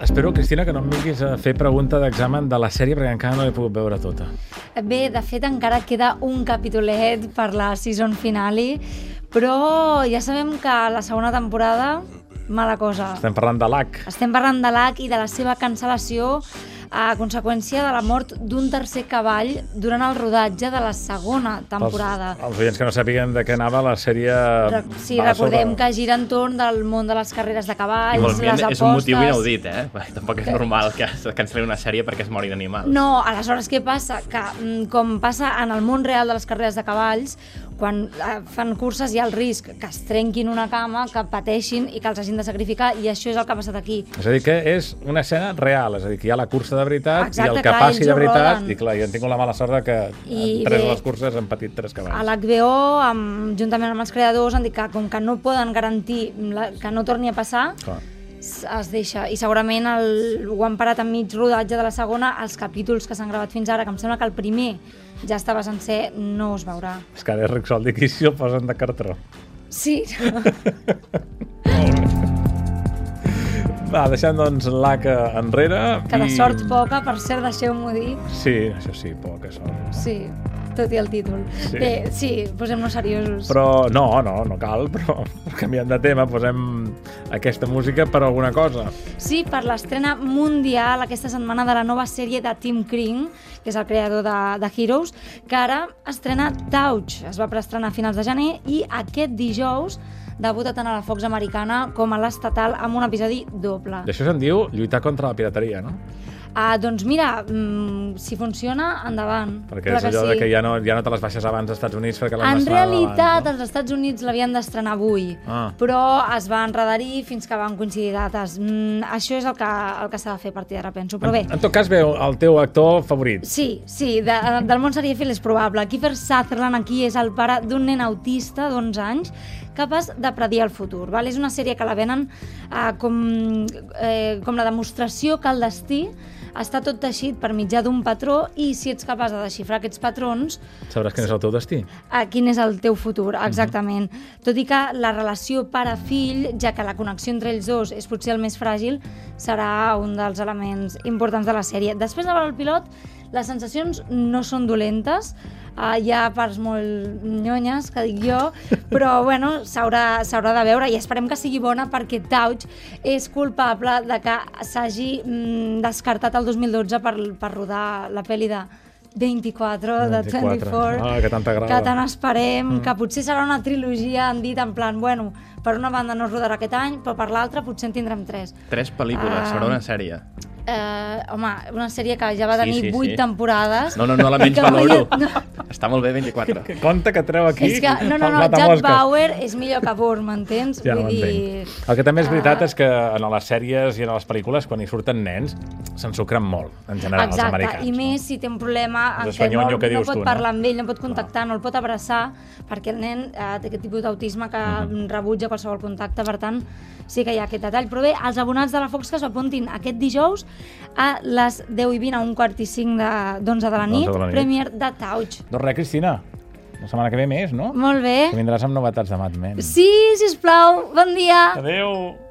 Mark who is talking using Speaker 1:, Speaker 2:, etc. Speaker 1: Espero, Cristina, que no em vinguis a fer pregunta d'examen de la sèrie perquè encara no l'he pogut veure tota.
Speaker 2: Bé, de fet, encara queda un capitolet per la season finale, però ja sabem que la segona temporada, mala cosa.
Speaker 1: Estem parlant de l'AC.
Speaker 2: Estem parlant de l'AC i de la seva cancel·lació a conseqüència de la mort d'un tercer cavall durant el rodatge de la segona temporada.
Speaker 1: Els, els oients que no sàpiguen de què anava la sèrie...
Speaker 2: Re sí,
Speaker 1: va
Speaker 2: recordem
Speaker 1: sobre-
Speaker 2: que gira entorn del món de les carreres de cavalls,
Speaker 3: Igualment,
Speaker 2: les apostes...
Speaker 3: és un motiu inaudit, eh? Perquè Tampoc és normal que es cancel·li una sèrie perquè es morin animals.
Speaker 2: No, aleshores què passa? Que mm, com passa en el món real de les carreres de cavalls, quan eh, fan curses hi ha el risc que es trenquin una cama, que pateixin i que els hagin de sacrificar, i això és el que ha passat aquí.
Speaker 1: És a dir, que és una escena real, és a dir, que hi ha la cursa de veritat
Speaker 2: Exacte,
Speaker 1: i el que
Speaker 2: clar,
Speaker 1: passi
Speaker 2: ells
Speaker 1: de
Speaker 2: ho
Speaker 1: veritat,
Speaker 2: roden.
Speaker 1: i clar, jo tinc la mala sort de que
Speaker 2: I
Speaker 1: en tres
Speaker 2: bé.
Speaker 1: de les curses han patit tres
Speaker 2: A
Speaker 1: cavalls.
Speaker 2: l'HBO, amb, juntament amb els creadors, han dit que com que no poden garantir la, que no torni a passar,
Speaker 1: Clar.
Speaker 2: s- es deixa. I segurament el, ho han parat en mig rodatge de la segona, els capítols que s'han gravat fins ara, que em sembla que el primer ja estava sencer, no es veurà.
Speaker 1: És que ara és Rixol, dic, i si el posen de cartró?
Speaker 2: Sí,
Speaker 1: Va, deixant, doncs, l'AC enrere.
Speaker 2: que de
Speaker 1: i-
Speaker 2: sort poca, per cert, deixeu-m'ho dir.
Speaker 1: Sí, això sí, poca sort.
Speaker 2: Sí, tot i el títol.
Speaker 1: Sí.
Speaker 2: Bé, sí, posem-nos seriosos.
Speaker 1: Però no, no, no cal, però canviant de tema, posem aquesta música per alguna cosa.
Speaker 2: Sí, per l'estrena mundial aquesta setmana de la nova sèrie de Tim Kring, que és el creador de, de Heroes, que ara estrena Touch. Es va preestrenar a finals de gener i aquest dijous debuta tant a la Fox americana com a l'estatal amb un episodi doble.
Speaker 1: D'això se'n diu lluitar contra la pirateria, no?
Speaker 2: Ah, doncs mira, mm, si funciona, endavant.
Speaker 1: Perquè és allò de que ja no, ja no te les baixes abans als Estats Units perquè les
Speaker 2: En
Speaker 1: estrenaven
Speaker 2: realitat,
Speaker 1: Abans,
Speaker 2: als Estats Units l'havien d'estrenar avui,
Speaker 1: Ah.
Speaker 2: però es va enredarir fins que van coincidir dates. Mm, això és el que, el que s'ha de fer a partir d'ara, penso. Però
Speaker 1: no?
Speaker 2: bé,
Speaker 1: en, en tot cas, veu el teu actor favorit.
Speaker 2: Sí, sí, de, del món serièfil és probable. Kiefer Sutherland aquí és el pare d'un nen autista d'11 anys capaç de predir el futur. Val? És una sèrie que la venen eh, com, eh, com la demostració que el destí està tot teixit per mitjà d'un patró i si ets capaç de desxifrar aquests patrons,
Speaker 1: Sabràs quin és el teu destí.
Speaker 2: a quin és el teu futur, exactament. Tot i que la relació pare-fill, ja que la connexió entre ells dos és potser el més fràgil, serà un dels elements importants de la sèrie. Després de veure el pilot, les sensacions no són dolentes, Uh, hi ha parts molt nyonyes, que dic jo, però bueno, s'haurà s'haurà de veure i esperem que sigui bona perquè Tauch és culpable de que s'hagi mm, descartat el 2012 per, per rodar la pel·li de 24, de
Speaker 1: 24.
Speaker 2: 24
Speaker 1: Ah, que tant t'agrada.
Speaker 2: que tant esperem, mm. que potser serà una trilogia, han dit en plan, bueno, per una banda no es rodarà aquest any, però per l'altra potser en tindrem tres.
Speaker 3: Tres pel·lícules
Speaker 2: Ah.
Speaker 3: sobre una sèrie.
Speaker 2: Eh, home, una sèrie que ja va
Speaker 3: Sí,
Speaker 2: tenir
Speaker 3: sí,
Speaker 2: vuit
Speaker 3: sí.
Speaker 2: temporades.
Speaker 3: No, no, no la
Speaker 2: i
Speaker 3: menys
Speaker 2: que avui-
Speaker 3: valoro.
Speaker 2: No,
Speaker 3: Està molt bé, 24.
Speaker 1: Que compte que treu aquí.
Speaker 2: és que, no, no,
Speaker 1: el
Speaker 2: no, Jack
Speaker 1: matamosques.
Speaker 2: Bauer és millor que Burr, m'entens?
Speaker 1: Ja no
Speaker 2: Vull dir... ah.
Speaker 1: m'entenc. El que també és veritat és que en les sèries i en les pel·lícules, quan hi surten nens, s'ensucren molt, en general, els
Speaker 2: Exacte,
Speaker 1: americans.
Speaker 2: i més si té un problema en
Speaker 1: És
Speaker 2: què no,
Speaker 1: espanyol, allò que
Speaker 2: no
Speaker 1: dius
Speaker 2: pot
Speaker 1: tu, no?
Speaker 2: parlar amb ell, no pot contactar, no el pot abraçar, perquè el nen eh, té aquest tipus d'autisme que
Speaker 1: Mhm.
Speaker 2: rebutja qualsevol contacte, per tant, sí que hi ha aquest detall. Però bé, els abonats de la Fox que s'apuntin aquest dijous a les 10 i 20 a un quart i 5 de- d'11 de, la nit,
Speaker 1: de la nit.
Speaker 2: premier de Touch.
Speaker 1: Doncs res, Cristina, la setmana que ve més, no?
Speaker 2: Molt
Speaker 1: Que
Speaker 2: bé.
Speaker 1: vindràs amb novetats de Mad Men. Tá.
Speaker 2: Sí, sisplau, bon dia.
Speaker 1: Adéu!